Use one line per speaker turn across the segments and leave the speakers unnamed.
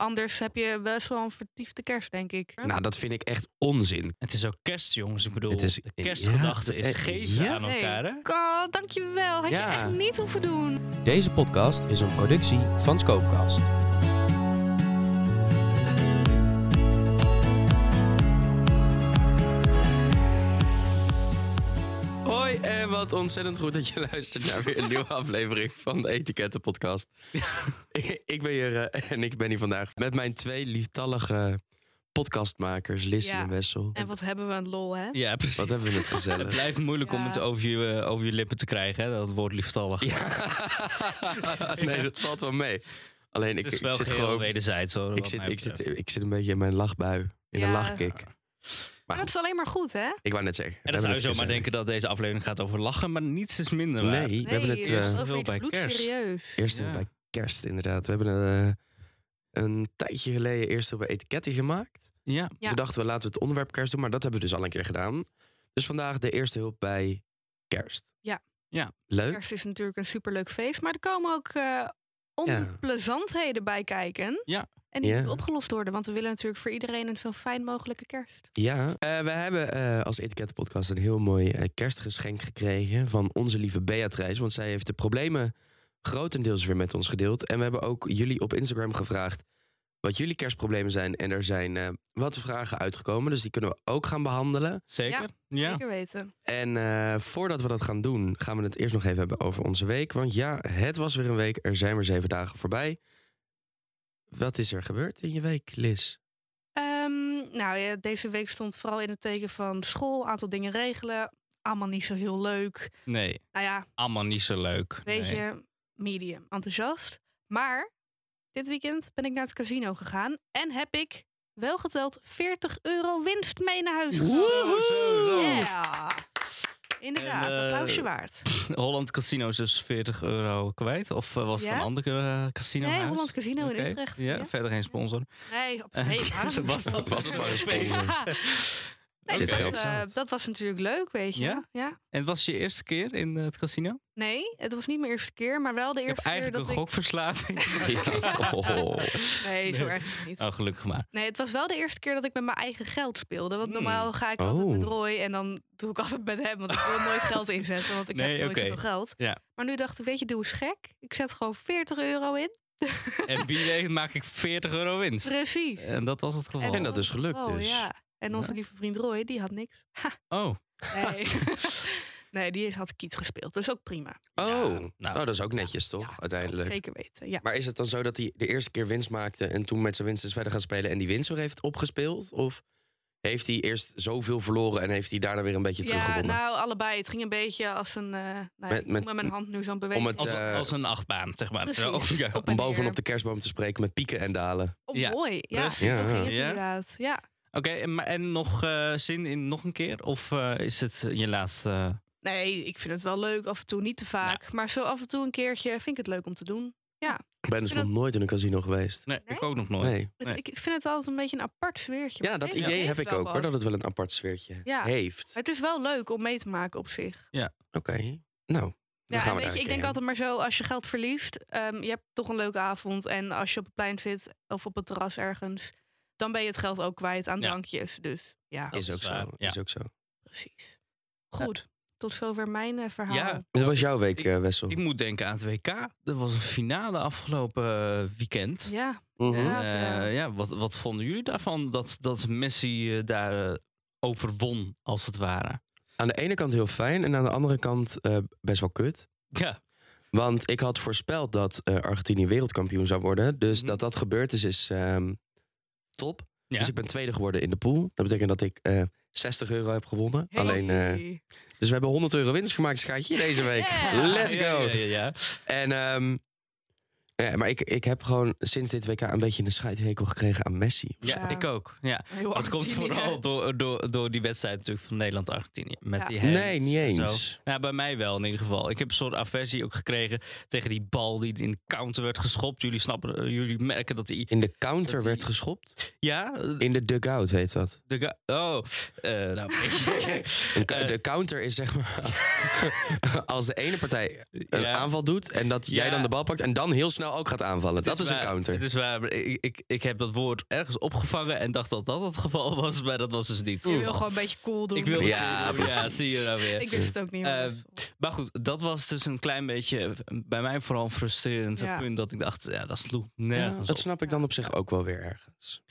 Anders heb je best wel een vertiefde kerst, denk ik.
Nou, dat vind ik echt onzin.
Het is ook kerst, jongens. Ik bedoel,
Het is-
de kerstgedachte
ja,
is
eh,
geven
ja.
aan elkaar, hè?
God, dankjewel. Had
Ja.
je echt niet hoeven doen.
Deze podcast is een productie van Scoopcast.
Hoi en wat ontzettend goed dat je luistert naar weer een nieuwe aflevering van de Etiketten Podcast. ik, ik ben hier eh, en ik ben hier vandaag met mijn twee lieftallige podcastmakers, Lissy
Ja.
en Wessel.
En wat hebben we een lol, hè?
Ja, precies.
Wat hebben we het
Het
gezellig.
blijft moeilijk om
Ja.
het over je, eh, over je lippen te krijgen, hè? Dat woord lieftallig.
Ja. nee, dat valt wel mee. Alleen ik,
het is
ik
wel
zit
geheel
gewoon.
wederzijds, hoor.
Ik
wat
zit,
mij
ik, zit,
betreft.
ik zit een beetje in mijn lachbui. In een
Ja.
lachkick.
Maar
Maar
dat
goed,
is alleen maar goed, hè?
ik wou net zeggen. we
En dan zou je
hebben het
zomaar denken
gezellig.
dat deze aflevering gaat over lachen, maar niets is minder waar.
Nee, we hebben het
eh,
is
eh,
over
heel
iets
bij kerst.
bloedserieus.
eerst
Ja.
bij kerst inderdaad. We hebben eh, een tijdje geleden eerst op etiketten gemaakt.
Ja,
Ja.
Toen dachten we laten we het onderwerp kerst doen, maar dat hebben we dus al een keer gedaan. Dus vandaag de eerste hulp bij kerst.
Ja.
Ja.
Leuk.
Kerst is natuurlijk een superleuk feest, maar er komen ook eh, onplezantheden bij kijken.
Ja.
En die
Ja.
moeten opgelost worden, want we willen natuurlijk voor iedereen een zo fijn mogelijke kerst.
Ja. Eh, we hebben eh, als etikettenpodcast een heel mooi eh, kerstgeschenk gekregen van onze lieve Beatrice. Want zij heeft de problemen grotendeels weer met ons gedeeld. En we hebben ook jullie op Instagram gevraagd wat jullie kerstproblemen zijn. En er zijn eh, wat vragen uitgekomen, dus die kunnen we ook gaan behandelen.
zeker. Ja.
Zeker weten.
En eh, voordat we dat gaan doen, gaan we het eerst nog even hebben over onze week. Want ja, het was weer een week. Er zijn weer zeven dagen voorbij. Wat is er gebeurd in je week, Liz?
Ehm, nou ja, deze week stond vooral in het teken van school, aantal dingen regelen. Allemaal niet zo heel leuk.
Nee,
Nou ja,
allemaal niet zo leuk.
weet
Nee.
je, medium enthousiast. Maar dit weekend ben ik naar het casino gegaan en heb ik wel geteld 40 euro winst mee naar huis.
Zo, zo, zo.
Ja, inderdaad,
En, eh,
applausje waard.
Holland Casino is dus 40 euro kwijt. Of eh, was het
Ja?
een ander eh, casino?
Nee,
huis?
Holland Casino in
Oké.
Utrecht.
Ja,
Ja.
verder geen sponsor.
Nee, op nee, waarom?
was dat
Was het maar een sponsor.
Ja. Nee,
Zit
dat,
geld
eh,
zat.
dat was natuurlijk leuk, weet je.
Ja?
ja.
En het was je eerste keer in eh, het casino?
Nee, het was niet mijn eerste keer, maar wel de
ik heb
eerste keer
eigenlijk
dat
een
ik...
gokverslaving.
Ja. Oh.
Nee, zo
Nee.
erg is het niet.
Oh, gelukkig maar.
Nee, het was wel de eerste keer dat ik met mijn eigen geld speelde. Want
Hmm.
normaal ga ik altijd
Oh.
met Roy en dan doe ik altijd met hem. Want ik wil nooit geld inzetten, want ik
Nee,
heb nooit
oké.
zoveel geld.
Ja.
Maar nu dacht ik, weet je, doe eens gek. Ik zet gewoon 40 euro in.
En wie weet maak ik 40 euro winst.
Precies.
En dat was het geval.
En dat is gelukt
oh,
dus.
Ja. En onze
Ja.
lieve vriend Roy, die had niks.
Oh,
Nee, nee die had kiet gespeeld. Dus ook prima.
Oh,
Ja, nou.
nou, dat is ook netjes toch,
Ja,
uiteindelijk.
Zeker weten, ja.
Maar is het dan zo dat hij de eerste keer winst maakte en toen met zijn winst is verder gaan spelen en die winst weer heeft opgespeeld? Of heeft hij eerst zoveel verloren en heeft hij daarna weer een beetje
Ja,
teruggewonnen?
nou, allebei. Het ging een beetje als een... eh nou, ja,
Met-
ik
met-
doe met mijn hand nu zo'n beweging.
Om het,
als,
eh,
als een achtbaan, zeg maar.
Precies.
Oh, ja.
Op
om
en neer.
bovenop de kerstboom te spreken met pieken en dalen.
Oh,
ja,
mooi. Ja,
precies.
zo ging het
Ja.
inderdaad. Ja.
Oké, en maar en nog eh, zin in nog een keer? Of eh, is het je laatste...
Nee, ik vind het wel leuk. Af en toe niet te vaak. Maar zo af en toe een keertje vind ik het leuk om te doen.
Ik ben dus
En dat-
nog nooit in een casino geweest.
Nee,
Nee?
ik ook nog nooit.
Nee.
Het-
Nee.
Ik vind het altijd een beetje een apart sfeertje.
Ja,
maar
dat
het heeft-
idee
het
heb
heeft
ik
wel
ook hoor.
wat.
Dat het wel een apart sfeertje
Ja.
heeft.
Het is wel leuk om mee te maken op zich.
Oké. Nou, dan
Ja,
gaan
en
we
weet
daar
je, ik
een
denk
keer
altijd maar zo, als je geld verliest, ehm, je hebt toch een leuke avond. En als je op het plein zit of op het terras ergens, dan ben je het geld ook kwijt aan
Ja.
drankjes. Dus ja,
Ja.
heen. Is ook
Dat is
zo.
waar, ja.
Is ook zo.
precies. Goed, tot zover mijn eh, verhaal.
Ja,
Hoe
eh,
was jouw week,
ik-
eh, Wessel?
Ik moet denken aan het WK. Er was een finale afgelopen eh, weekend.
Ja,
Mhm.
Ja.
Eh,
ja.
ja, wat, wat vonden jullie daarvan dat, dat Messi eh, daar eh, overwon, als het ware?
Aan de ene kant heel fijn en aan de andere kant eh, best wel kut.
Ja,
Want ik had voorspeld dat eh, Argentinië wereldkampioen zou worden. Dus
Mhm.
dat dat gebeurd is, is ehm, top.
Ja.
Dus ik ben tweede geworden in de pool. Dat betekent dat ik eh, 60 euro heb gewonnen. Alleen, eh,
Hey.
dus we hebben 100 euro winst gemaakt, schaatje, deze week.
Yeah.
Let's go.
Ja, ja, ja, ja.
En, ehm, ja, maar ik, ik heb gewoon sinds dit WK een beetje een scheidhekel gekregen aan Messi.
Ja,
Ja.
ik ook. Ja.
Heel
Dat komt
Argentinië.
vooral door, door, door die wedstrijd natuurlijk van Nederland-Argentinië. Met
Ja.
die hands
Nee, niet
en zo.
eens.
Nou, bij mij wel in ieder geval. Ik heb een soort aversie ook gekregen tegen die bal die in de counter werd geschopt. Jullie snappen, eh, jullie merken dat die...
In de counter
Dat die-
werd geschopt.
Ja? eh,
In de dugout heet dat.
De ga- oh, eh, nou,
Een ka-
Eh.
de counter is zeg maar als de ene partij een
Ja.
aanval doet en dat jij
Ja.
dan de bal pakt en dan heel snel snel ook gaat aanvallen. Dat is een
waar,
counter.
Het is waar. maar Ik, ik, ik heb dat woord ergens opgevangen en dacht dat dat het geval was, maar dat was dus niet.
Je wil gewoon een beetje cool doen.
Ik wil
Ja,
ja,
precies.
zie je nou weer.
Ik wist het ook niet. maar
Eh,
dat is-
Maar goed, dat was dus een klein beetje eh, bij mij vooral een frustrerend
Ja.
punt dat ik dacht, ja, dat sloeg
Ja,
nergens
dat
op.
snap ik dan op zich ook wel weer ergens.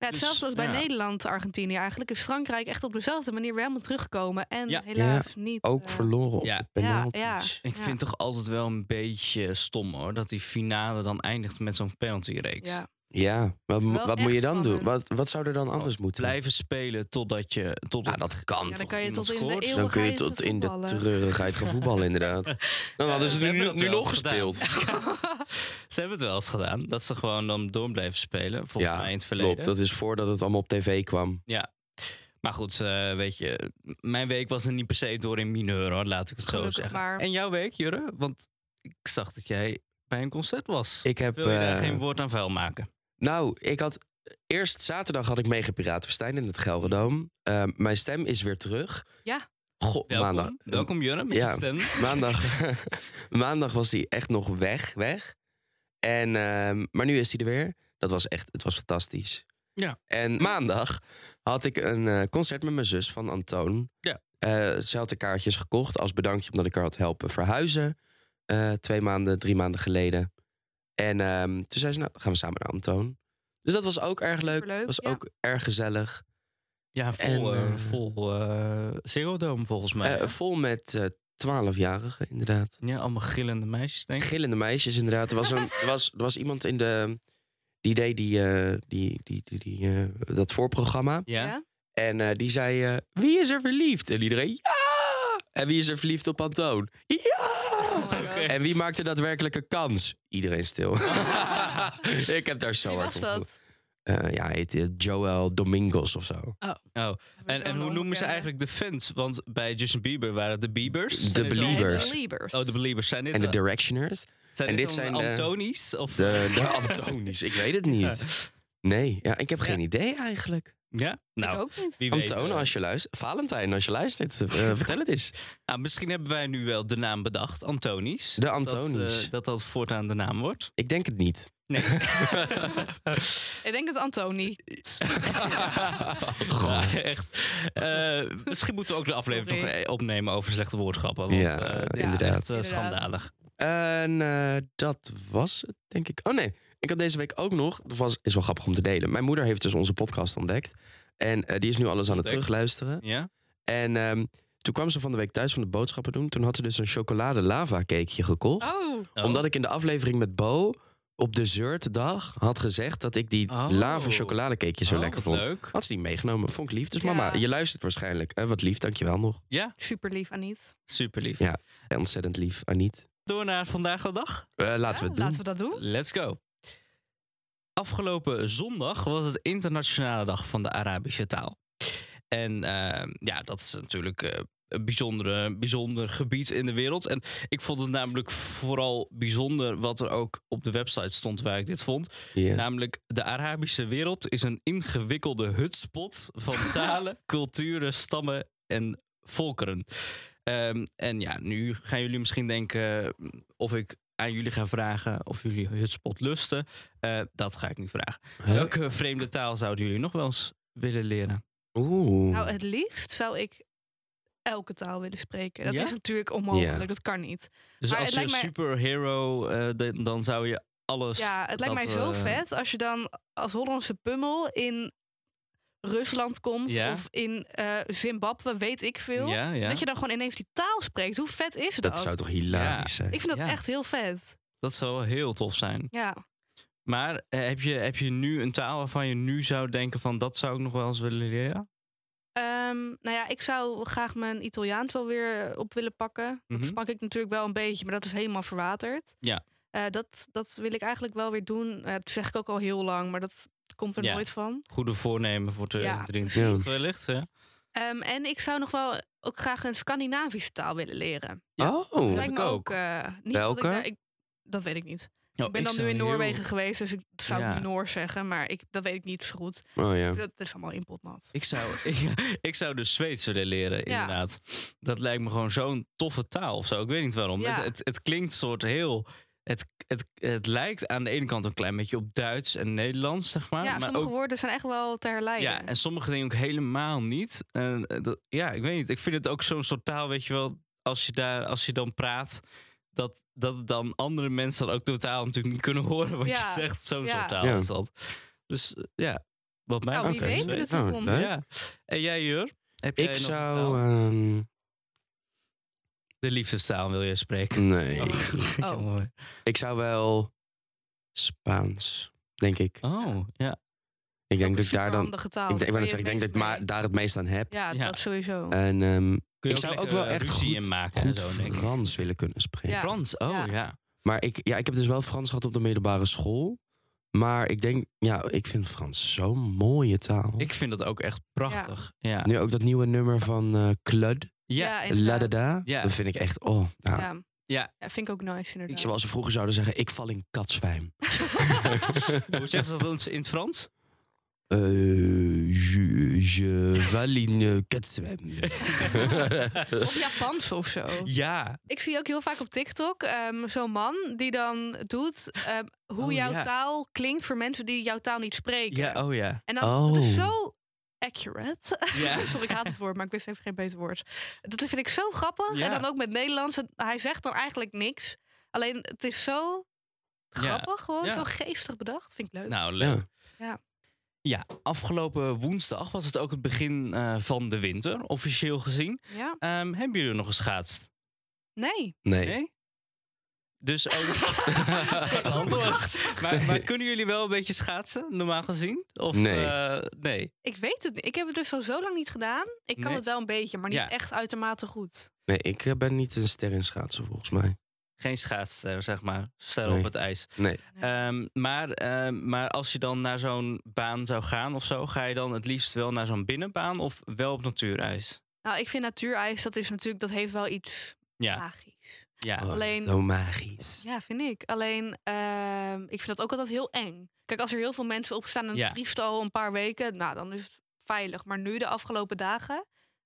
ja, hetzelfde
dus,
als bij
ja.
Nederland, Argentinië eigenlijk. Is Frankrijk echt op dezelfde manier weer helemaal teruggekomen. En
Ja.
helaas niet.
Ook
eh,
verloren op
ja.
de
Ja,
penalties.
Ik
Ja.
vind toch altijd wel een beetje stom hoor, dat die finale dan eindigt met zo'n penaltyreeks.
Ja.
Ja, wat,
Wel
wat moet
echt
je dan doen?
spannend.
Wat, wat zou er dan anders moeten?
Blijven spelen totdat je... Totdat
Ja, dat kan
Ja, dan
toch?
kan je
iemand
tot in de
scoort?
eeuwigheid
Dan kun je tot in de
voetballen.
treurigheid gaan voetballen, inderdaad. Dan hadden
ze
ze
hebben
nu,
dat
nu
wel
nog
eens gedaan.
gespeeld.
Ze hebben het wel eens gedaan, dat ze gewoon dan door blijven spelen, volgens
Ja,
mij in het verleden.
Klopt, dat is voordat het allemaal op tv kwam.
Maar goed, eh, weet je, m- mijn week was er niet per se door in mineur hoor, laat ik het zo
Gelukkig
zeggen.
maar.
En jouw week, Jurre? Want ik zag dat jij bij een concert was.
Ik heb,
Wil je daar
eh,
geen woord aan vuil maken?
Nou, ik had... Eerst zaterdag had ik meegepiraat Verstijn in het Gelredoom. Eh, mijn stem is weer terug.
Ja.
Goh,
Welkom,
maandag.
Welkom Jurre, met
ja.
je stem.
Maandag, maandag was hij echt nog weg, weg. En, ehm, maar nu is hij er weer. Dat was echt, het was fantastisch.
Ja.
En maandag had ik een eh, concert met mijn zus van Antoon.
Ja.
Eh, ze had de kaartjes gekocht als bedankje omdat ik haar had helpen verhuizen. eh, twee maanden, drie maanden geleden. En ehm, toen zei ze, nou, dan gaan we samen naar Antoon. Dus dat was ook erg leuk.
Superleuk,
was
ja.
ook erg gezellig.
Ja, vol,
En,
eh,
eh,
vol eh Zero Dome volgens mij.
Eh, vol met twaalfjarigen, inderdaad.
ja, allemaal gillende meisjes, denk ik.
Gillende meisjes, inderdaad. Er was, een, er was, er was iemand in de. Die deed die, eh, die, die, die, die, eh, dat voorprogramma.
Ja.
Ja.
En eh, die zei: eh, Wie is er verliefd? En iedereen: Ja! En wie is er verliefd op Antoon? Ja!
Oh my god.
En wie maakte daadwerkelijke kans? Iedereen stil. Ik heb daar zo
Wie
hard
was
op
dat?
Eh, ja, hij heet eh, Joel Domingos of zo.
Oh. En, en hoe noemen ze eigenlijk de fans? Want bij Justin Bieber waren het de Biebers.
De
Zijn dit allemaal-
Beliebers.
De Beliebers.
Oh, de Beliebers. Zijn dit,
En de
eh,
Directioners?
zijn
en
dit,
dit
dan
zijn, eh,
Antonies? Of,
De, de Antonies, ik weet het niet. Nee, ja, ik heb geen idee eigenlijk.
Ja?
Ik
Nou,
ook niet.
wie weet.
Antoon,
eh,
als je luistert. Valentijn, als je luistert. eh, vertel het eens.
Nou, misschien hebben wij nu wel de naam bedacht, Antonies.
De Antonies.
Dat eh, dat, dat voortaan de naam wordt.
Ik denk het niet.
Nee.
Ik denk dat Antoni.
Ja, echt. Eh, misschien moeten we ook de aflevering nog
Sorry.
eh, opnemen over slechte woordgrappen. Want
Ja,
eh, dit is
inderdaad.
echt eh, schandalig.
En eh, dat was het, denk ik. Oh nee, ik had deze week ook nog. Dat was, is wel grappig om te delen. Mijn moeder heeft dus onze podcast ontdekt. En eh, die is nu alles aan het
Ontdekt.
terugluisteren.
Ja?
En ehm, toen kwam ze van de week thuis van de boodschappen doen. Toen had ze dus een chocolade lava cakeje gekocht.
Oh,
Oh.
Omdat ik in de aflevering met Bo op de zeurtdag had gezegd dat ik die
Oh.
lava chocoladecakeje zo
Oh,
lekker
wat
vond.
Leuk.
Had ze die meegenomen. Vond ik lief. Dus
Ja.
mama, je luistert waarschijnlijk. Eh, wat lief, dankjewel nog.
super lief, Aniet.
Super lief.
Ja. Eh, Ontzettend lief, Aniet.
Door naar vandaag de dag.
Eh, laten
Ja,
we het doen.
Laten we dat doen.
Let's go. Afgelopen zondag was het Internationale Dag van de Arabische Taal. En eh, ja, dat is natuurlijk eh, een bijzondere, bijzonder gebied in de wereld. En ik vond het namelijk vooral bijzonder wat er ook op de website stond waar ik dit vond.
Ja.
Namelijk, de Arabische wereld is een ingewikkelde hutspot van talen, culturen, stammen en volkeren. Ehm, en ja, nu gaan jullie misschien denken eh, of ik aan jullie ga vragen of jullie hutspot lusten. Eh, dat ga ik niet vragen.
Huh?
Welke vreemde taal zouden jullie nog wel eens willen leren?
Oeh.
Nou, het liefst zou ik elke taal willen spreken. Dat
Ja?
is natuurlijk onmogelijk,
Ja.
dat kan niet.
Dus
Maar het
als je
lijkt mij-
superhero, eh, de- dan zou je alles...
Ja, het lijkt
dat,
mij zo
eh,
vet als je dan als Hollandse pummel in Rusland komt
Ja.
of in eh, Zimbabwe, weet ik veel.
Ja, ja.
Dat je dan gewoon ineens die taal spreekt. Hoe vet is dat?
dat zou toch hilarisch zijn?
Ik vind dat
Ja.
echt heel vet.
dat zou wel heel tof zijn.
Ja.
Maar eh, heb, je, heb je nu een taal waarvan je nu zou denken van... dat zou ik nog wel eens willen leren?
Ehm, nou ja, ik zou graag mijn Italiaans wel weer eh, op willen pakken.
Mhm.
Dat sprak ik natuurlijk wel een beetje, maar dat is helemaal verwaterd.
Ja.
Eh, dat, dat wil ik eigenlijk wel weer doen. Eh, dat zeg ik ook al heel lang, maar dat komt er
Ja.
nooit van.
Goede voornemen voor 2023 wellicht, hè?
Ehm, en ik zou nog wel ook graag een Scandinavische taal willen leren.
Ja.
dat
Oh.
lijkt me
ik
ook.
ook.
eh, niet
Welke? Oh,
Dat, ik, daar- ik- dat weet ik niet.
Nou,
ik ben dan nu in Noorwegen geweest, dus ik zou
Ja.
Noors zeggen, maar ik, dat weet ik niet zo goed.
Oh ja.
Dat is allemaal inpotnat.
Ik zou, ik, ik zou dus Zweeds willen leren, inderdaad. Dat lijkt me gewoon zo'n toffe taal of zo. Ik weet niet waarom.
Ja.
Het, het, het klinkt soort heel, Het, het, het lijkt aan de ene kant een klein beetje op Duits en Nederlands, zeg maar.
ja,
maar
sommige
ook,
woorden zijn echt wel te herleiden.
ja, en sommige dingen ook helemaal niet. En, eh, dat, ja, ik weet niet. Ik vind het ook zo'n soort taal, weet je wel, als je, daar, als je dan praat, dat, dat dan andere mensen dan ook totaal natuurlijk niet kunnen horen wat je
Ja,
zegt. Zo'n
ja.
soort taal
Ja.
is dat. Dus eh, ja, wat mij
Nou, wie
betreft-
weet in de
Oh,
toekomst.
leuk.
Ja. En jij, Jur? Heb jij
Ik
nog een taal?
zou... ehm,
De liefdestaal wil je spreken.
nee.
Oh.
Jammer.
Ik zou wel Spaans, denk ik.
oh, ja.
Ik denk
Ook
dat
een
ik daar dan...
superhandige taal.
Ik, denk- ik,
Kun
wou net
je
zeggen, ik
het
denk dat ik
meest
ma- daar het meest aan heb.
mee- Ja,
Ja.
dat sowieso.
En ehm,
Kun
Ik
je
zou ook
lekker,
wel
eh,
echt
ruzie
goed-
in maken
goed
en zo, denk ik.
Frans willen kunnen spreken.
Ja.
Frans, oh ja.
Ja.
Maar ik, ja, ik heb dus wel Frans gehad op de middelbare school. Maar ik denk, ja, ik vind Frans zo'n mooie taal.
Ik vind dat ook echt prachtig. Ja. Ja.
Nu ook dat nieuwe nummer van eh Clud,
Ja.
inderdaad.
La Da Da.
Ja.
Dat vind ik echt, oh. Nou,
Ja.
Ja.
Ja, vind ik ook nice inderdaad.
Zoals ze vroeger zouden zeggen, ik val in katzwijm.
Hoe zeggen ze dat dan in het Frans?
Eh, je, je val in eh, katzwijm.
Of Japans of zo.
Ja.
Ik zie ook heel vaak op TikTok ehm, zo'n man die dan doet ehm, hoe
Oh,
jouw
ja.
taal klinkt voor mensen die jouw taal niet spreken.
Ja, oh ja.
En dan, dat is
Oh.
zo accurate.
Ja.
Sorry, ik haat het woord, maar ik wist even geen beter woord. Dat vind ik zo grappig.
Ja.
En dan ook met Nederlands. En Hij zegt dan eigenlijk niks. Alleen het is zo
Ja.
grappig, gewoon
Ja.
zo geestig bedacht. Vind ik leuk.
Nou, leuk.
Ja.
Ja, afgelopen woensdag was het ook het begin eh, van de winter, officieel gezien.
Ja.
Ehm, hebben jullie nog geschaatst?
Nee.
Nee.
Dus ook...
Prachtig.
maar, maar kunnen jullie wel een beetje schaatsen, normaal gezien? Of,
Nee.
eh, nee.
Ik weet het niet. Ik heb het dus al zo lang niet gedaan. Ik kan
Nee.
het wel een beetje, maar niet
Ja.
echt uitermate goed.
Nee, ik eh, ben niet een ster in schaatsen volgens mij.
Geen schaatster, zeg maar. Stel
Nee.
op het ijs.
Nee.
Ehm, maar, ehm, maar als je dan naar zo'n baan zou gaan of zo, ga je dan het liefst wel naar zo'n binnenbaan of wel op natuurijs?
Nou, ik vind natuurijs, dat is natuurlijk, dat heeft wel iets
Ja,
magisch.
ja.
Oh,
Alleen-
Zo magisch.
Ja, vind ik. Alleen, ehm, ik vind dat ook altijd heel eng. Kijk, als er heel veel mensen opstaan en het
Ja.
vriest al een paar weken, nou, dan is het veilig. Maar nu, de afgelopen dagen,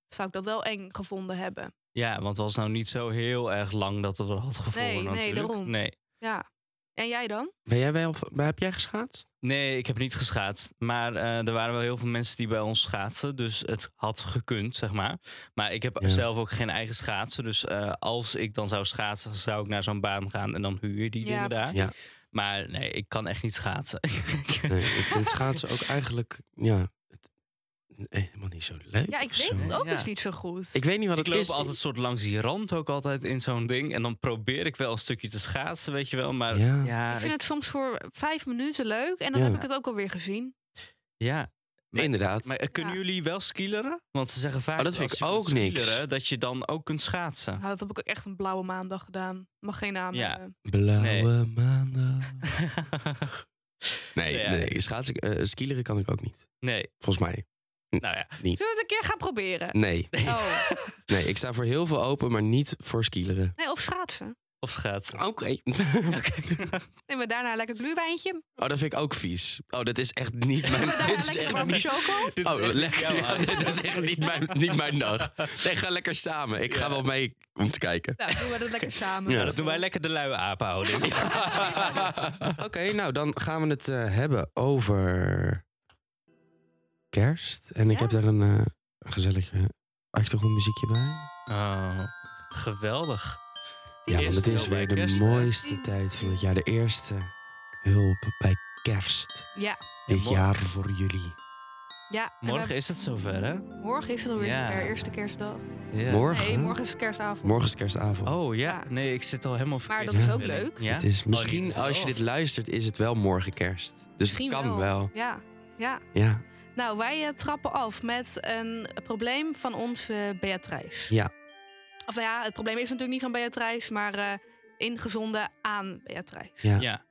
zou ik dat wel eng gevonden hebben.
ja, want het was nou niet zo heel erg lang dat het er had gevoeld.
Nee, nee,
natuurlijk.
daarom.
Nee.
Ja. En jij dan?
Ben jij wel, maar heb jij geschaatst?
Nee, ik heb niet geschaatst. Maar eh, er waren wel heel veel mensen die bij ons schaatsten. Dus het had gekund, zeg maar. Maar ik heb
Ja.
zelf ook geen eigen schaatsen. Dus eh, als ik dan zou schaatsen, zou ik naar zo'n baan gaan. En dan huur je die
Ja,
dingen daar.
Ja.
Maar nee, ik kan echt niet schaatsen.
Nee, ik vind schaatsen ook eigenlijk ja, het- nee, helemaal niet zo leuk.
Ja, ik
of zo.
weet het ook
Ja.
dus niet zo goed.
Ik weet niet wat
Ik
het
loop
is.
altijd soort langs die rand ook altijd in zo'n ding. En dan probeer ik wel een stukje te schaatsen, weet je wel. Maar ja,
Ja.
Ik
ja,
vind
ik-
het soms voor vijf minuten leuk en dan
Ja.
heb ik het ook alweer gezien.
ja. Maar-
Inderdaad.
Maar eh, kunnen
Ja.
jullie wel skileren? Want ze zeggen vaak
Oh, dat vind
als
ik
je
ook
kunt
niks.
skileren, dat je dan ook kunt schaatsen.
Nou, dat heb ik ook echt een blauwe maandag gedaan. Mag geen naam
Ja.
hebben.
Blauwe
Nee.
maandag. Nee,
Ja.
nee, nee, schaatsen, eh, skileren kan ik ook niet.
nee,
Volgens mij
nou ja.
niet.
Zullen we het een keer gaan proberen?
Nee,
Oh.
nee, ik sta voor heel veel open, maar niet voor skileren.
Nee, of schaatsen.
Of schaatsen.
Oké.
Neem we daarna een lekker gluwijntje.
Oh, dat vind ik ook vies. Oh, dat is echt niet
Neem
mijn...
we daarna een
Dit is
lekker
echt
warme
niet...
choco.
Dit is
Oh,
echt
lekker.
jouw
Ja,
hand.
dit is echt niet mijn, niet mijn dag. Nee, ga lekker samen. Ik ga
Ja.
wel mee om te kijken.
Nou, doen we dat lekker samen.
Ja,
Nou, dat doen wij lekker de luie apenhouding.
Oké, nou dan gaan we het eh, hebben over kerst. En ik
Ja.
heb daar een eh, gezellig eh, achtergrondmuziekje bij.
Oh, geweldig.
Ja, want het
Eerste
is
hulp bij
weer de
kerst, hè?
mooiste tijd van het jaar. De eerste hulp bij kerst.
Ja,
Ja,
Dit
mooi.
jaar voor jullie.
ja. En
Morgen is het zover, hè?
we- morgen is het alweer
Ja.
zover, eerste kerstdag.
Ja.
Morgen?
Nee, morgen is kerstavond.
Morgen is kerstavond.
Oh ja,
Ja.
nee, ik zit al helemaal verkeerd.
dat is
Ja.
ook leuk.
Ja?
Het is misschien,
Oh, dit is
als je
wel.
dit luistert, is het wel morgen kerst. Dus
Misschien
het kan wel.
Ja, ja.
Ja.
Nou, wij eh, trappen af met een probleem van onze Beatrice.
Ja.
Of nou ja, het probleem is natuurlijk niet van Beatrice, maar eh, ingezonden aan Beatrice.
Ja.
Ja.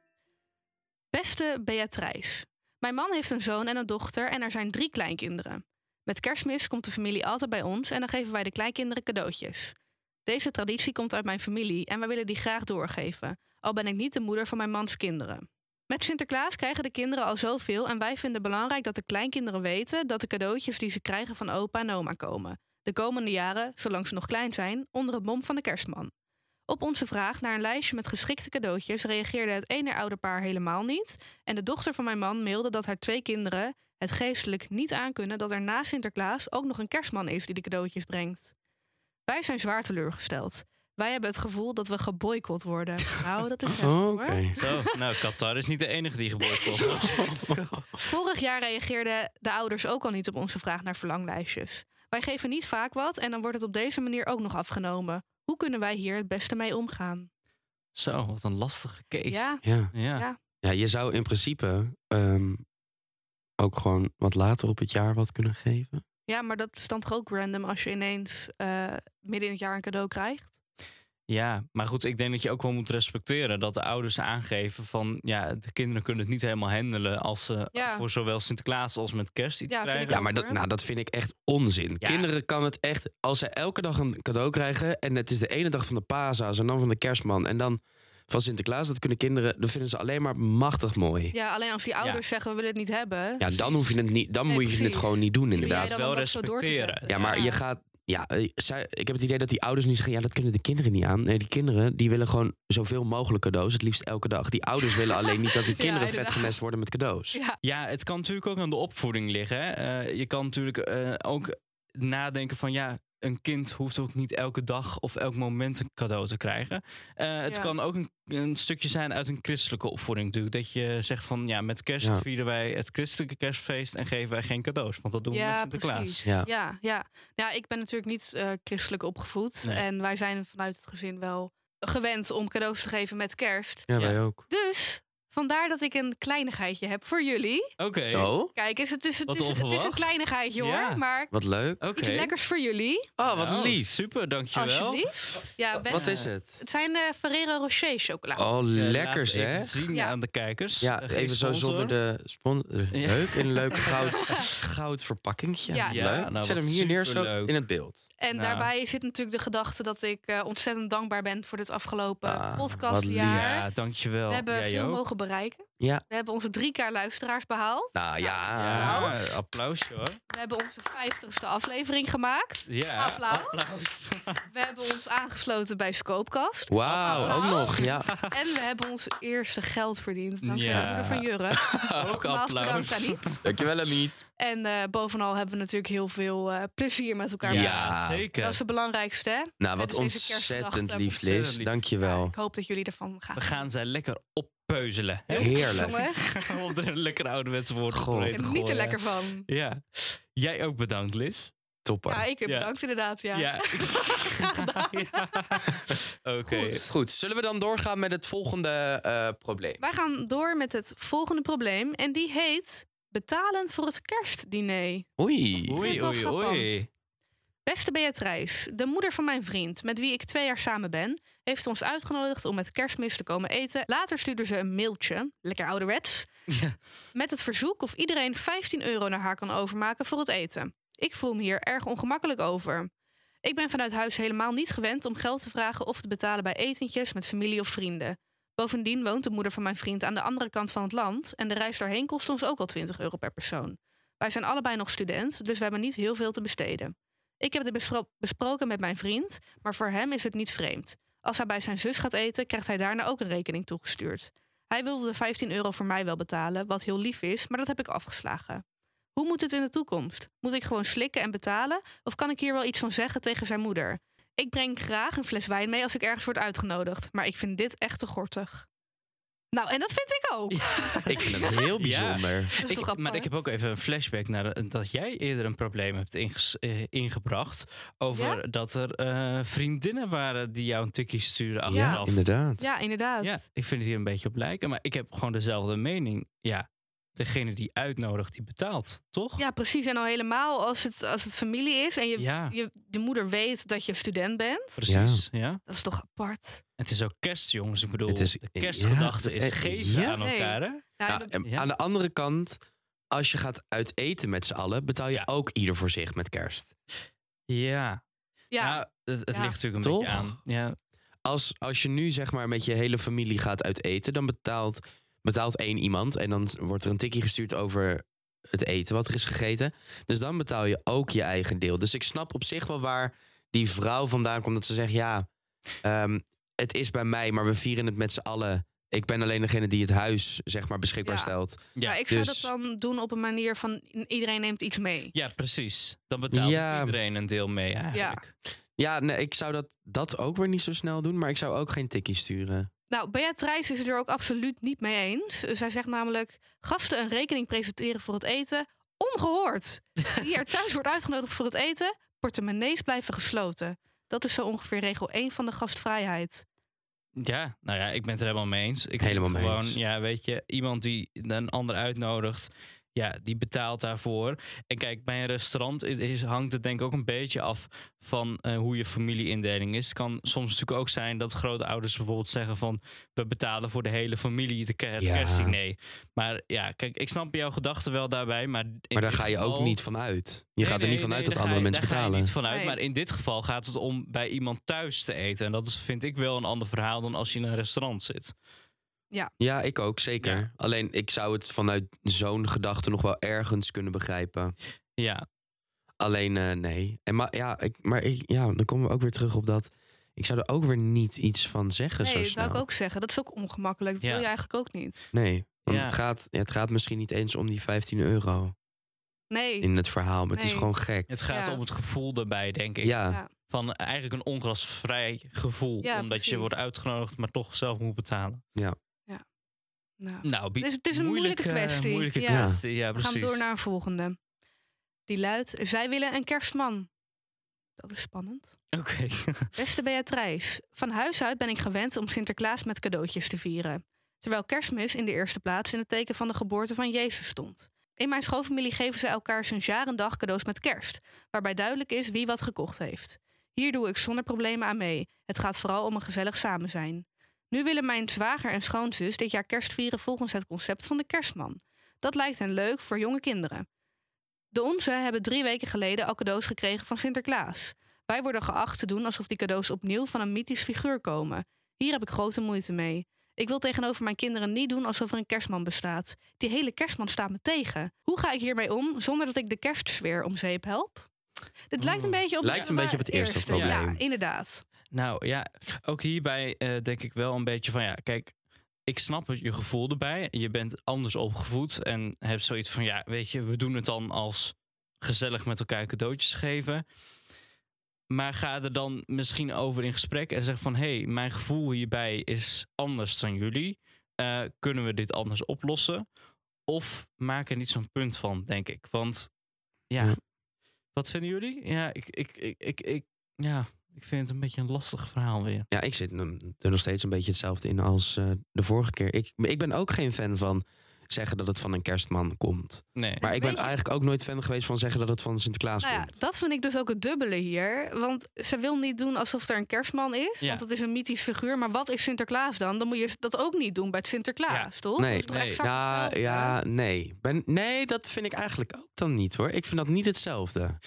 Beste Beatrice. Mijn man heeft een zoon en een dochter en er zijn drie kleinkinderen. Met kerstmis komt de familie altijd bij ons en dan geven wij de kleinkinderen cadeautjes. Deze traditie komt uit mijn familie en wij willen die graag doorgeven, al ben ik niet de moeder van mijn mans kinderen. Met Sinterklaas krijgen de kinderen al zoveel en wij vinden belangrijk dat de kleinkinderen weten dat de cadeautjes die ze krijgen van opa en oma komen. De komende jaren, zolang ze nog klein zijn, onder het mom van de kerstman. Op onze vraag naar een lijstje met geschikte cadeautjes reageerde het ene ouderpaar helemaal niet. En de dochter van mijn man mailde dat haar twee kinderen het geestelijk niet aankunnen dat er na Sinterklaas ook nog een kerstman is die de cadeautjes brengt. Wij zijn zwaar teleurgesteld. Wij hebben het gevoel dat we geboycott worden. Nou, dat is heftig
Oh,
hoor.
Oké.
Zo, nou, Qatar is niet de enige die geboord wordt.
Vorig jaar reageerden de ouders ook al niet op onze vraag naar verlanglijstjes. Wij geven niet vaak wat en dan wordt het op deze manier ook nog afgenomen. Hoe kunnen wij hier het beste mee omgaan?
Zo, wat een lastige case.
Ja,
Ja.
Ja.
Ja.
ja, je zou in principe ehm, ook gewoon wat later op het jaar wat kunnen geven.
ja, maar dat is dan toch ook random als je ineens eh, midden in het jaar een cadeau krijgt?
Ja, maar goed, ik denk dat je ook wel moet respecteren dat de ouders aangeven van ja, de kinderen kunnen het niet helemaal handelen als ze
Ja.
voor zowel Sinterklaas als met kerst iets
Ja, vind ik
krijgen.
Ja, maar dat,
hoor.
nou, dat vind ik echt onzin.
Ja.
Kinderen kan het echt, als ze elke dag een cadeau krijgen... en het is de ene dag van de paashaas en dan van de kerstman... en dan van Sinterklaas, dat kunnen kinderen... dat vinden ze alleen maar machtig mooi.
Ja, alleen als die ouders zeggen we willen het niet hebben.
Ja, dan, hoef je het niet, dan
Nee,
moet je het
precies.
gewoon niet doen, inderdaad.
dan
wel
om dat zo door te
respecteren.
zetten?
Ja, maar je gaat. Ja, eh, zij- ik heb het idee dat die ouders niet zeggen: ja, dat kunnen de kinderen niet aan. Nee, die kinderen die willen gewoon zoveel mogelijk cadeaus, het liefst elke dag. Die ouders willen alleen niet dat die
Ja,
kinderen vet
inderdaad.
gemest worden met cadeaus.
Ja.
Ja, het kan natuurlijk ook aan de opvoeding liggen. Hè? Eh, je kan natuurlijk eh, ook nadenken van ja, een kind hoeft ook niet elke dag of elk moment een cadeau te krijgen. Eh, het
Ja.
kan ook een, een stukje zijn uit een christelijke opvoeding natuurlijk. Dat je zegt van ja, met kerst
Ja.
vieren wij het christelijke kerstfeest en geven wij geen cadeaus. Want dat doen we met
Ja,
Sinterklaas.
precies.
Ja.
Ja. Ja, Nou, ik ben natuurlijk niet eh, christelijk opgevoed.
Nee.
En wij zijn vanuit het gezin wel gewend om cadeaus te geven met kerst.
Ja,
Ja.
wij ook.
Dus vandaar dat ik een kleinigheidje heb voor jullie.
Oké.
Oh,
Kijk, is het, is, het,
Wat
is, het het is een
onverwacht.
kleinigheidje
Ja.
hoor. Maar
wat leuk.
Oké.
iets lekkers voor jullie.
Oh, wat
Nou,
lief.
Super, dankjewel.
Alsjeblieft. Ja, best.
Wat is het?
Het zijn eh Ferrero Rocher chocola.
Oh,
Eh,
lekker
laat
zeg.
Even zien
Ja.
aan de kijkers.
Ja,
Eh, geen
even zo
sponsor.
zonder de sponsor.
Ja.
Leuk, in een leuk goud, goud verpakkingje.
Ja.
Ja,
leuk.
nou,
Ik Zet
wat
hem hier neer zo
superleuk.
in het beeld.
En
nou.
daarbij zit natuurlijk de gedachte dat ik eh, ontzettend dankbaar ben voor dit afgelopen
Ah, wat lief.
podcastjaar.
Ja, dankjewel.
We hebben
Jij
veel
ook.
mogen bereiken.
Ja.
We hebben onze 3K luisteraars behaald.
Nou ja.
Nou.
Ja, applausje Ah, hoor.
We hebben onze 50ste aflevering gemaakt.
Ja,
Applaus.
applaus.
We hebben ons aangesloten bij Scoopcast.
Wauw, ook
Applaus.
nog. Ja.
En we hebben ons eerste geld verdiend. Dankzij
Ja.
de moeder van Jurre.
ook
Nogmaals bedankt aan
applaus.
niet.
Dankjewel, Amiet.
En eh, bovenal hebben we natuurlijk heel veel eh, plezier met elkaar.
Ja.
zeker.
Dat is het belangrijkste. hè?
Nou, wat
Met deze
ontzettend
kerstgedachten.
lief, Liz.
Ontzettend lief.
Dankjewel.
Ik hoop dat jullie ervan gaan.
We gaan zij lekker oppeuzelen. hè?
Heerlijk.
Jongens,
Om er een lekker ouderwetse woord
Goh.
doorheen te
geniet er
gooien.
lekker van.
Ja. Jij ook bedankt, Liz.
Topper.
Ja, ik eh,
Ja.
bedankt inderdaad. Ja.
Graag
gedaan.
Oké.
Goed. Goed, zullen we dan doorgaan met het volgende eh, probleem?
Wij gaan door met het volgende probleem. En die heet betalen voor het kerstdiner.
Oei.
vind
Oei,
het wel
oei, oei.
frappant. Beste Beatrice, de moeder van mijn vriend, met wie ik twee jaar samen ben, heeft ons uitgenodigd om met kerstmis te komen eten. Later stuurde ze een mailtje, lekker ouderwets,
Ja.
met het verzoek of iedereen 15 euro naar haar kan overmaken voor het eten. Ik voel me hier erg ongemakkelijk over. Ik ben vanuit huis helemaal niet gewend om geld te vragen of te betalen bij etentjes met familie of vrienden. Bovendien woont de moeder van mijn vriend aan de andere kant van het land en de reis daarheen kost ons ook al 20 euro per persoon. Wij zijn allebei nog student, dus we hebben niet heel veel te besteden. Ik heb dit bespro- besproken met mijn vriend, maar voor hem is het niet vreemd. Als hij bij zijn zus gaat eten, krijgt hij daarna ook een rekening toegestuurd. Hij wilde de 15 euro voor mij wel betalen, wat heel lief is, maar dat heb ik afgeslagen. Hoe moet het in de toekomst? Moet ik gewoon slikken en betalen, of kan ik hier wel iets van zeggen tegen zijn moeder? Ik breng graag een fles wijn mee als ik ergens word uitgenodigd, maar ik vind dit echt te gortig. Nou, en dat vind ik ook.
Ik vind het heel
Ja.
bijzonder.
Dat is toch
Ik, maar ik
apart?
heb ook even een flashback naar eh, dat jij eerder een probleem hebt inges- eh, ingebracht. Over
Ja?
dat er eh, vriendinnen waren die jou een tikkie sturen achteraf.
Inderdaad.
Ja, inderdaad.
Ja, ik vind het hier een beetje op lijken. Maar ik heb gewoon dezelfde mening. Ja, degene die uitnodigt, die betaalt, toch?
Ja, precies. En al helemaal als het, als het familie is en je,
Ja,
je, de moeder weet dat je student bent.
precies. Ja.
Dat is toch apart?
Het is ook kerst, jongens. Ik bedoel,
Het is-
de kerstgedachte
ja,
is
eh,
geven
ja.
aan
Nee.
elkaar. Hè?
Nou,
Ja, eh,
dat-
en
Ja.
Aan de andere kant, als je gaat uit eten met z'n allen, betaal je
Ja.
ook ieder voor zich met kerst.
Ja.
ja,
Nou, het, het
Ja.
ligt natuurlijk een
Toch?
beetje aan. Ja.
Als, als je nu zeg maar met je hele familie gaat uit eten, dan betaalt, betaalt één iemand en dan wordt er een tikkie gestuurd over het eten wat er is gegeten. Dus dan betaal je ook je eigen deel. Dus ik snap op zich wel waar die vrouw vandaan komt dat ze zegt ja. ehm, het is bij mij, maar we vieren het met z'n allen. Ik ben alleen degene die het huis zeg maar, beschikbaar
Ja.
stelt.
Ja,
maar ik zou
dus-
dat dan doen op een manier van iedereen neemt iets mee.
Ja, precies. Dan betaalt
Ja.
iedereen een deel mee eigenlijk.
Ja, nee, ik zou dat, dat ook weer niet zo snel doen, maar ik zou ook geen tikkie sturen.
Nou, Beatrice is het er ook absoluut niet mee eens. Zij zegt namelijk: gasten een rekening presenteren voor het eten, ongehoord. Wie er thuis wordt uitgenodigd voor het eten, portemonnees blijven gesloten. Dat is zo ongeveer regel 1 van de gastvrijheid.
Ja. nou ja, ik ben het er helemaal mee eens. Ik vind
Helemaal mee
gewoon,
eens.
Ja, weet je, iemand die een ander uitnodigt, ja, die betaalt daarvoor. En kijk, bij een restaurant is, is- hangt het denk ik ook een beetje af van eh, hoe je familieindeling is. Het kan soms natuurlijk ook zijn dat grootouders bijvoorbeeld zeggen van... we betalen voor de hele familie de, ke- het
Ja.
kerstdiner. Maar ja, kijk, ik snap jouw gedachten wel daarbij, maar... in
Maar daar
dit
ga je ook
geval-
niet van uit. Je
Nee,
gaat er
nee,
niet van
nee,
uit dat
daar ga
andere
je-
mensen
daar Ga je
betalen.
niet vanuit,
Nee.
maar in dit geval gaat het om bij iemand thuis te eten. En dat is, vind ik wel een ander verhaal dan als je in een restaurant zit.
Ja, ik ook, zeker.
Ja.
Alleen ik zou het vanuit zo'n gedachte nog wel ergens kunnen begrijpen.
Ja,
Alleen eh, nee. En maar ja, ik, maar ik, ja, dan komen we ook weer terug op dat. Ik zou er ook weer niet iets van zeggen
Nee,
zo
dat
snel.
zou ik ook zeggen. Dat is ook ongemakkelijk. Dat
Ja.
wil je eigenlijk ook niet.
Nee, want
Ja.
het, gaat, ja, het gaat misschien niet eens om die 15 euro
Nee.
in het verhaal. Maar het is
Nee.
gewoon gek.
het gaat
Ja.
om het gevoel daarbij, denk ik.
Ja,
Ja.
Van eh, eigenlijk een ongrasvrij gevoel.
Ja,
omdat je
precies.
wordt uitgenodigd, maar toch zelf moet betalen.
Nou.
Nou, bi-
Het is- het is een moeilijke kwestie.
moeilijke
Ja.
kwestie, ja,
We
precies.
gaan door naar een volgende. Die luidt: Zij willen een kerstman. Dat is spannend.
Oké.
Beste Beatrice, van huis uit ben ik gewend om Sinterklaas met cadeautjes te vieren. Terwijl kerstmis in de eerste plaats in het teken van de geboorte van Jezus stond. In mijn schoonfamilie geven ze elkaar sinds jaar en dag cadeaus met kerst, waarbij duidelijk is wie wat gekocht heeft. Hier doe ik zonder problemen aan mee. Het gaat vooral om een gezellig samen zijn. Nu willen mijn zwager en schoonzus dit jaar kerst vieren volgens het concept van de kerstman. Dat lijkt hen leuk voor jonge kinderen. De onze hebben drie weken geleden al cadeaus gekregen van Sinterklaas. Wij worden geacht te doen alsof die cadeaus opnieuw van een mythisch figuur komen. Hier heb ik grote moeite mee. Ik wil tegenover mijn kinderen niet doen alsof er een kerstman bestaat. Die hele kerstman staat me tegen. Hoe ga ik hiermee om zonder dat ik de kerstsfeer om zeep help? Dit lijkt een
Oeh.
beetje op,
Lijkt een beetje op het eerste
Ja,
probleem.
inderdaad.
Nou ja, ook hierbij eh, denk ik wel een beetje van ja, kijk, ik snap het, je gevoel erbij. Je bent anders opgevoed en hebt zoiets van ja, weet je, we doen het dan als gezellig met elkaar cadeautjes geven. Maar ga er dan misschien over in gesprek en zeg van hé, hey, mijn gevoel hierbij is anders dan jullie. Eh, kunnen we dit anders oplossen? Of maak er niet zo'n punt van, denk ik. Want ja,
Ja.
wat vinden jullie? Ja, ik, ik, ik, ik, ik, ja. Ik vind het een beetje een lastig verhaal weer.
ja, ik zit n- er nog steeds een beetje hetzelfde in als eh, de vorige keer. Ik, ik ben ook geen fan van zeggen dat het van een kerstman komt.
Nee.
Maar ik ben
Weet je-
eigenlijk ook nooit fan geweest van zeggen dat het van Sinterklaas
Nou ja,
komt.
dat vind ik dus ook het dubbele hier. Want ze wil niet doen alsof er een kerstman is.
Ja.
Want het is een mythisch figuur. Maar wat is Sinterklaas dan? Dan moet je dat ook niet doen bij het Sinterklaas, toch?
Nee.
Dat is toch
Nee.
exact
Nou
hetzelfde?
ja, nee. Ben, nee, dat vind ik eigenlijk ook dan niet hoor. Ik vind dat niet hetzelfde.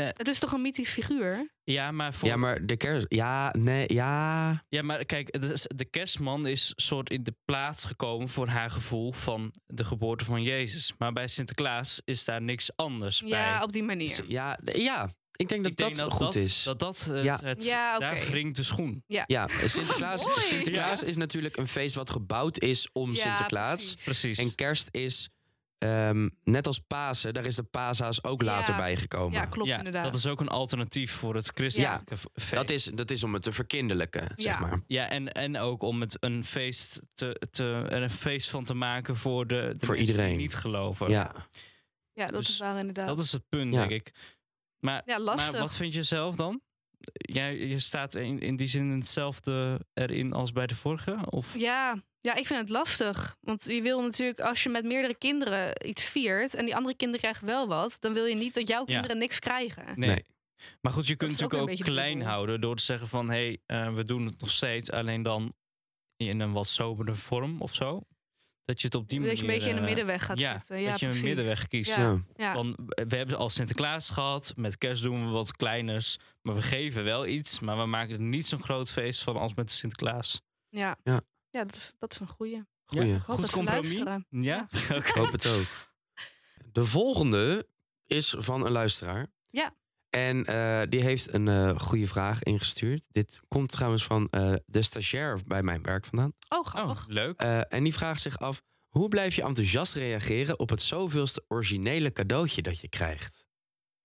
Het is toch een mythisch figuur?
ja, maar voor,
Ja, maar de kerst. Ja, nee, ja.
kijk, het is- de kerstman is soort in de plaats gekomen voor haar gevoel van de geboorte van Jezus. Maar bij Sinterklaas is daar niks anders bij.
Ja, op die manier.
Ja, d- ja. Ik denk dat
ik denk
dat,
dat
goed
dat,
is.
Dat dat eh,
Ja.
het,
Ja, oké.
daar wringt de schoen.
Ja, Sinterklaas,
Mooi.
Sinterklaas is natuurlijk een feest wat gebouwd is om
Ja,
Sinterklaas.
precies.
Precies.
En kerst is, ehm, net als Pasen, daar is de paashaas ook
Ja.
later bijgekomen.
Ja, klopt
ja,
inderdaad.
Dat is ook een alternatief voor het christelijke v- feest.
dat, is, dat is om het te verkinderlijken, zeg maar.
Ja, en, en ook om het een feest, te, te, er een feest van te maken voor de, de mensen die
iedereen.
niet geloven.
Ja.
ja, dat
dus
is waar inderdaad.
Dat is het punt,
Ja.
denk ik. Maar,
Ja, lastig.
maar wat vind je zelf dan? Jij je staat in, in die zin hetzelfde erin als bij de vorige? Of?
ja, ja, ik vind het lastig. Want je wil natuurlijk, als je met meerdere kinderen iets viert... en die andere kinderen krijgen wel wat... dan wil je niet dat jouw kinderen niks krijgen.
Nee.
Nee.
Maar goed, je kunt
is ook
natuurlijk
een
ook,
beetje de
klein
doel.
houden door te zeggen van... hé, hey, eh, we doen het nog steeds, alleen dan in een wat sobere vorm of zo. Dat je het op die
dat
manier...
je een beetje in de
eh,
middenweg gaat
ja,
zitten. Ja,
dat je een
precies.
middenweg kiest.
Ja.
Ja.
Ja.
Van, we hebben al Sinterklaas gehad, met kerst doen we wat kleiners. Maar we geven wel iets, maar we maken er niet zo'n groot feest van als met Sinterklaas.
Ja,
Ja.
ja dat, is, dat is een goeie.
Goeie.
Ja,
Ik
hoop
Goed
dat ze
compromis.
luisteren.
Ja, oké.
Ik hoop het ook. De volgende is van een luisteraar.
Ja.
En eh, die heeft een eh, goede vraag ingestuurd. Dit komt trouwens van eh, de stagiair bij mijn werk vandaan.
Oh,
Oh,
grappig.
leuk.
Eh, en die vraagt zich af: hoe blijf je enthousiast reageren op het zoveelste originele cadeautje dat je krijgt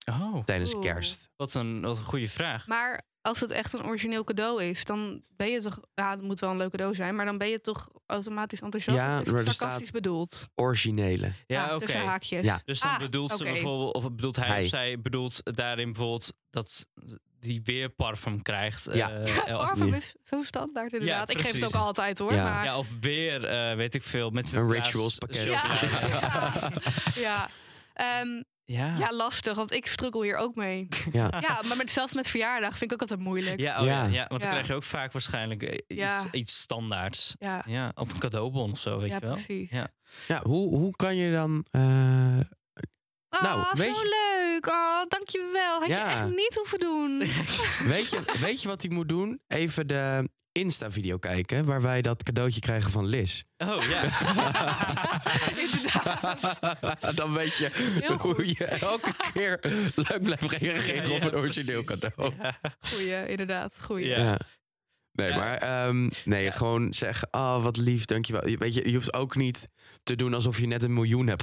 Oh,
tijdens
Oeh.
kerst?
wat een, wat een goede vraag.
Maar als het echt een origineel cadeau is, dan ben je toch... Ja, het moet wel een leuk cadeau zijn, maar dan ben je toch automatisch enthousiast.
Ja,
of is het
maar er
sarcastisch
staat-
bedoeld.
Originele.
ja,
Ah,
oké.
Tussen haakjes.
Ja.
Dus dan
Ah,
bedoelt ze
oké.
bijvoorbeeld, of bedoelt hij,
Hij.
of zij bedoelt daarin bijvoorbeeld dat die weer parfum krijgt.
Ja.
eh, el-
Parfum is zo standaard inderdaad. ik geef het ook
precies.
altijd hoor.
Ja.
Maar,
ja, of weer, eh, weet ik veel, met
Een
ja,
rituals
s-
pakket.
s-
Ja.
Ja.
ja. Ehm,
Ja.
ja, lastig, want ik struggle hier ook mee.
Ja.
Ja, maar met, zelfs met verjaardag vind ik ook altijd moeilijk.
Ja, oh ja.
Ja.
ja, want dan
Ja.
krijg je ook vaak waarschijnlijk eh, iets,
Ja.
iets standaards.
Ja,
Ja, of een cadeaubon of zo, weet
ja,
je wel.
precies.
Ja.
Ja, hoe, hoe kan je dan. eh,
Ah,
Nou,
zo
weet
leuk. Oh, dankjewel. Had
Ja.
je echt niet hoeven doen.
weet, je, weet je wat hij moet doen? Even de Insta-video kijken waar wij dat cadeautje krijgen van Liz.
Oh ja.
Inderdaad.
dan weet je
Heel
hoe
goed.
je elke keer leuk blijft reageren
Ja,
op
ja,
een origineel
precies.
cadeau.
Ja.
Goeie, inderdaad. Goeie.
Ja.
Nee,
Ja.
maar ehm, nee, gewoon zeggen, oh wat lief, dankjewel. Je- Weet je, je hoeft ook niet te doen alsof je net een miljoen hebt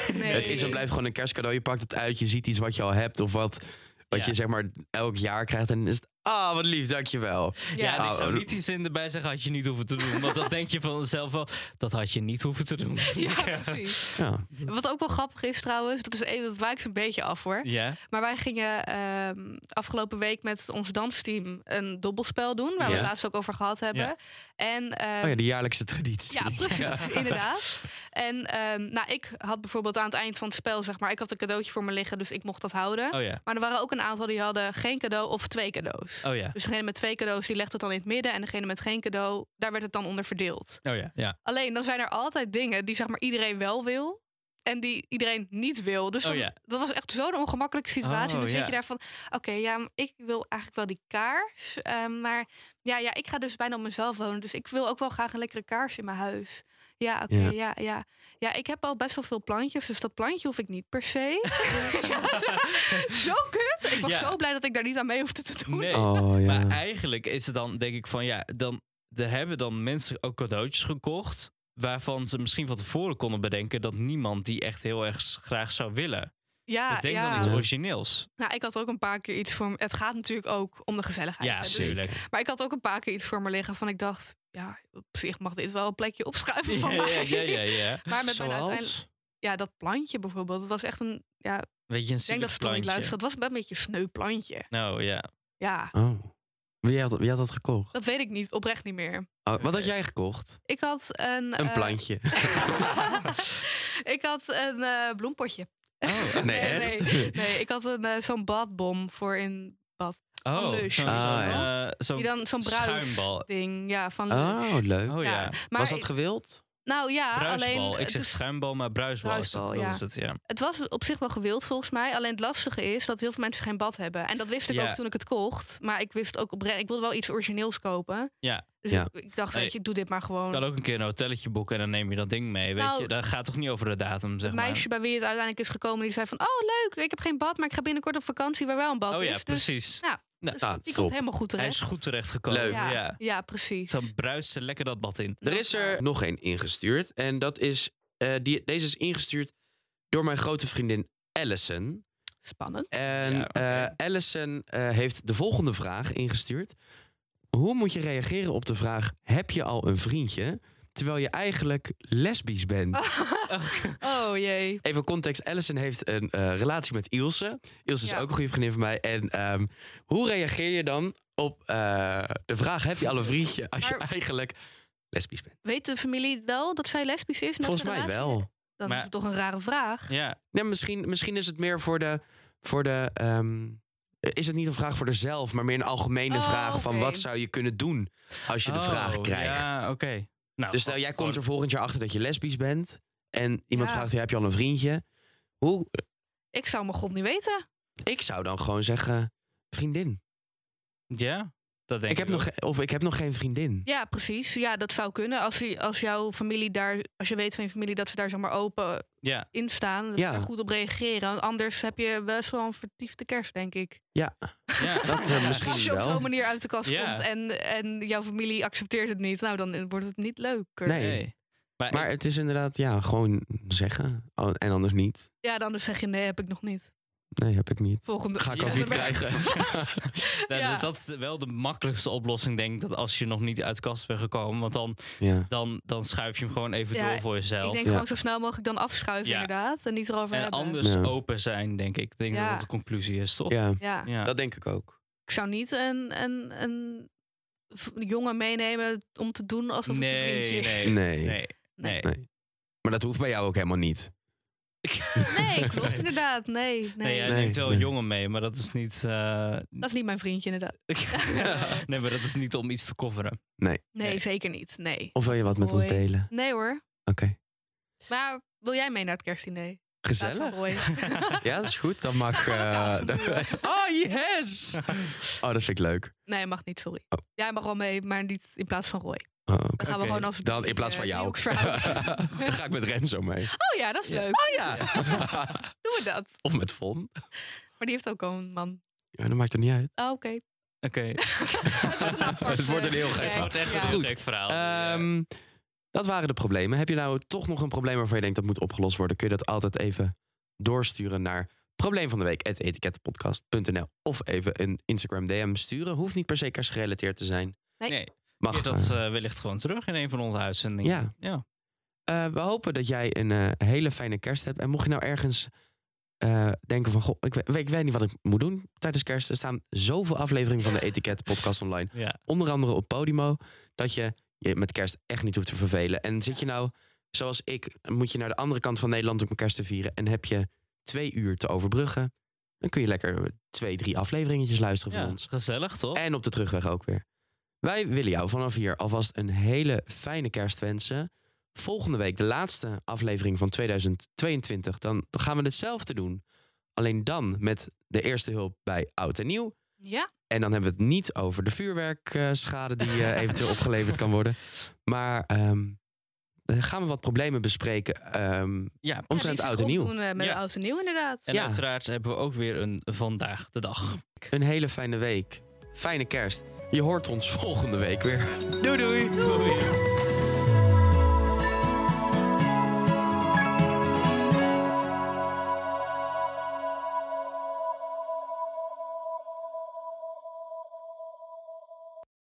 Nee.
het is en blijft gewoon een kerstcadeau. Je pakt het uit, je ziet iets wat je al hebt of wat, wat
Ja.
je zeg maar elk jaar krijgt. En dan is het, oh wat lief, dankjewel.
Ja, en
Ja,
ik zou
Oh,
niet die zin erbij zeggen, had je niet hoeven te doen. Want dat denk je van zelf wel, dat had je niet hoeven te doen.
ja, precies.
Ja, Oh
Wat ook wel grappig is trouwens, dat, is even, dat wijkt een beetje af hoor.
Ja,
Maar wij gingen ehm, afgelopen week met ons dansteam een dobbelspel doen, waar we
Ja.
het laatst ook over gehad hebben.
Ja.
En ehm,
oh ja, de jaarlijkse traditie.
Ja, precies, inderdaad. En ehm, nou, ik had bijvoorbeeld aan het eind van het spel, zeg maar, ik had een cadeautje voor me liggen, dus ik mocht dat houden.
oh ja,
Maar er waren ook een aantal die hadden geen cadeau of twee cadeaus.
oh ja,
Dus degene met twee cadeaus, die legt het dan in het midden. En degene met geen cadeau, daar werd het dan onder verdeeld.
oh ja. ja.
Alleen, dan zijn er altijd dingen die zeg maar iedereen wel wil. En die iedereen niet wil. Dus
Oh
dan-
ja.
dat was echt zo'n ongemakkelijke situatie.
Oh,
dan
ja.
zit je daar van, oké, ja, maar ik wil eigenlijk wel die kaars. eh, maar ja, ja, ik ga dus bijna op mezelf wonen. Dus ik wil ook wel graag een lekkere kaars in mijn huis. Ja, oké,
Ja.
ja. ja, ja. ik heb al best wel veel plantjes. Dus dat plantje hoef ik niet per se. Ja, zo- zo kut. Ik was
Ja.
zo blij dat ik daar niet aan mee hoefde te doen.
Nee,
Oh ja.
maar eigenlijk is het dan, denk ik van ja, dan er hebben dan mensen ook cadeautjes gekocht. Waarvan ze misschien van tevoren konden bedenken dat niemand die echt heel erg s- graag zou willen.
Ja,
ik denk
Ah, ja.
dan iets
Ja.
origineels.
Nou, ik had ook een paar keer iets voor me. Het gaat natuurlijk ook om de gezelligheid.
Ja,
hè, dus-
natuurlijk.
Maar ik had ook een paar keer iets voor me liggen van ik dacht, ja, op zich mag dit wel een plekje opschuiven
Ja,
van
ja,
mij.
ja, ja, ja.
Maar met mijn uiteindelijk,
Zoals?
ja, dat plantje bijvoorbeeld, dat was echt een, ja, ik
Weet je,
denk
een
dat
zielig
ze toch niet
plantje.
luisteren. Het was wel een beetje een sneu plantje.
Nou ja.
Ja,
Oh. Wie had, wie had dat gekocht?
dat weet ik niet, oprecht niet meer.
Oh, wat had jij gekocht?
Ik had een...
Een
eh,
plantje.
ik had een eh, bloempotje.
Oh,
Nee,
nee,
echt?
nee, nee, ik had een eh, zo'n badbom voor in bad.
oh zo'n
Lush.
zo'n,
Ah,
eh, zo'n
Die dan zo'n bruisding,
schuimbal.
ja, van
Oh,
Lush.
leuk.
Oh ja.
Maar
Was dat gewild?
nou ja,
bruisbal.
alleen
ik zeg
dus-
schuimbal, maar bruisbal, is,
Bruisbal,
het,
ja.
dat is het. Ja.
Het was op zich wel gewild volgens mij. Alleen het lastige is dat heel veel mensen geen bad hebben. En dat wist ik
Ja.
ook toen ik het kocht. Maar ik wist ook oprecht, ik wilde wel iets origineels kopen.
Ja.
Dus
Ja.
Ik, ik dacht,
Nee.
weet je, doe dit maar
Je
gewoon.
kan ook een keer een hotelletje boeken en dan neem je dat ding mee. Weet
Nou,
je, dat gaat toch niet over de datum, zeg
Het meisje bij wie het uiteindelijk is gekomen, die zei van... Oh, leuk, ik heb geen bad, maar ik ga binnenkort op vakantie waar wel een bad
maar. Oh
is.
ja,
Dus-
precies.
nou, dus
Nou,
die
top.
komt helemaal goed
Hij
terecht.
is goed terechtgekomen.
Leuk.
Ja.
Ja, ja. precies. Nou,
Dan bruist ze lekker dat bad in.
Er is er nog één ingestuurd. En dat is, eh, die, deze is ingestuurd door mijn grote vriendin Allison.
Spannend.
En
Ja, oké.
eh, Allison eh, heeft de volgende vraag ingestuurd. Hoe moet je reageren op de vraag, heb je al een vriendje? Terwijl je eigenlijk lesbisch bent.
Oh jee.
Even context, Allison heeft een eh, relatie met Ilse. Ilse is
Ja.
ook een goede vriendin van mij. En ehm, hoe reageer je dan op eh, de vraag, heb je al een vriendje? Als je
Maar-
eigenlijk lesbisch bent.
Weet de familie wel dat zij lesbisch is? en dat
Volgens
ze een
mij
relatie
wel.
heeft? Dan
Maar-
is het toch een rare vraag.
Ja,
Nee, misschien, misschien is het meer voor de. Voor de ehm, is het niet een vraag voor dezelf, maar meer een algemene
Oh,
vraag van
oké.
wat zou je kunnen doen als je de
Oh,
vraag krijgt.
Ja, oké. Nou,
Dus stel, jij komt er volgend jaar achter dat je lesbisch bent en iemand
Ja.
vraagt je heb je al een vriendje? Hoe?
Ik zou mijn god niet weten.
Ik zou dan gewoon zeggen vriendin.
Ja, dat denk ik.
Ik heb nog,
ook.
ge- of ik heb nog geen vriendin.
Ja, precies. Ja, dat zou kunnen. Als, die, als jouw familie daar, als je weet van je familie dat ze daar zeg maar open
Ja.
in staan. Dus
Ja.
daar goed op reageren. Want anders heb je best wel een vertiefde kerst, denk ik.
Ja,
ja.
dat eh, misschien
Als je op
wel.
zo'n manier uit de kast
Ja.
komt en, en jouw familie accepteert het niet, nou dan wordt het niet leuker.
Nee.
Nee. Maar,
Maar
ik-
het is inderdaad, ja, gewoon zeggen. Al- En anders niet.
Ja, dan dus zeg je nee, heb ik nog niet.
Nee, heb ik niet.
Volgende.
Ga ik
Ja.
ook niet krijgen.
Ja,
Ja.
dat- Dat is wel de makkelijkste oplossing, denk ik. Dat als je nog niet uit de kast bent gekomen. Want dan,
ja.
dan, dan schuif je hem gewoon even
Ja,
door voor
Ik
jezelf.
denk
Ja.
gewoon zo snel mogelijk dan afschuiven
Ja.
inderdaad. En niet erover
En
hebben.
anders
Ja.
open zijn, denk ik. Ik denk
Ja.
dat dat de conclusie is, toch?
ja,
Ja.
Ja.
dat denk ik ook.
Ik zou niet een, een, een v- jongen meenemen om te doen alsof het een
nee,
vriendje is.
nee,
Nee.
nee.
Nee.
nee.
Maar dat hoeft bij jou ook helemaal niet.
Nee, klopt inderdaad. Nee, nee.
Nee, jij
Nee,
neemt wel
nee.
jongen mee, maar dat is niet. eh,
Dat is niet mijn vriendje inderdaad.
nee, maar dat is niet om iets te coveren.
Nee,
Nee.
zeker niet. Nee.
Of wil je wat met ons
Mooi.
delen?
Nee hoor.
Oké.
Maar wil jij mee naar het kerstdiner? Laat
Gezellig.
van Roy.
Ja, dat is goed. Dan mag. eh,
gaan we kaas
oh, yes! Oh, dat vind ik leuk.
Nee, mag niet, sorry.
Oh.
Jij mag wel mee, maar niet in plaats van Roy.
Oh, oké.
Dan gaan
Oké,
we gewoon als
Dan in plaats
eh,
van jou.
driehoeksverhouding.
Dan ga ik met Renzo mee.
Oh ja, dat is leuk.
Oh ja.
Doen we dat.
of met Von.
Maar die heeft ook al een man.
Ja, dat maakt toch niet uit.
Oh, oké.
Oké.
Het wordt een apart,
Het wordt een
eh,
heel gek
gesprek.
verhaal.
Het wordt echt
Ja.
een heel
Goed.
gek verhaal.
Ehm, dat waren de problemen. Heb je nou toch nog een probleem waarvan je denkt dat moet opgelost worden? Kun je dat altijd even doorsturen naar probleem van de week etikettenpodcast.nl of even een Instagram DM sturen. Hoeft niet per se kerstgerelateerd te zijn.
Nee.
Nee.
Mag.
Keer dat
eh,
eh, wellicht gewoon terug in een van onze uitzendingen.
ja.
ja.
Eh, we hopen dat jij een eh, hele fijne kerst hebt. En mocht je nou ergens eh, denken van... Goh, ik, we- ik weet niet wat ik moet doen tijdens kerst. Er staan zoveel afleveringen van de Etikettenpodcast online.
Ja.
Onder andere op Podimo. Dat je je met kerst echt niet hoeft te vervelen. En zit je nou, zoals ik, moet je naar de andere kant van Nederland om kerst te vieren. En heb je twee uur te overbruggen. Dan kun je lekker twee, drie afleveringetjes luisteren
Ja,
van ons.
Gezellig, toch?
En op de terugweg ook weer. Wij willen jou vanaf hier alvast een hele fijne kerst wensen. Volgende week de laatste aflevering van 2022. Dan gaan we hetzelfde doen. Alleen dan met de eerste hulp bij Oud en Nieuw.
Ja,
En dan hebben we het niet over de vuurwerkschade die eh, eventueel opgeleverd kan worden. Maar ehm, dan gaan we wat problemen bespreken ehm
Ja.
omtrent
ja, die
Oud en Nieuw.
Doen, eh, met
Ja.
oud en nieuw inderdaad.
En
Ja.
uiteraard hebben we ook weer een vandaag de dag.
Een hele fijne week. Fijne kerst. Je hoort ons volgende week weer. Doei doei.
Doei.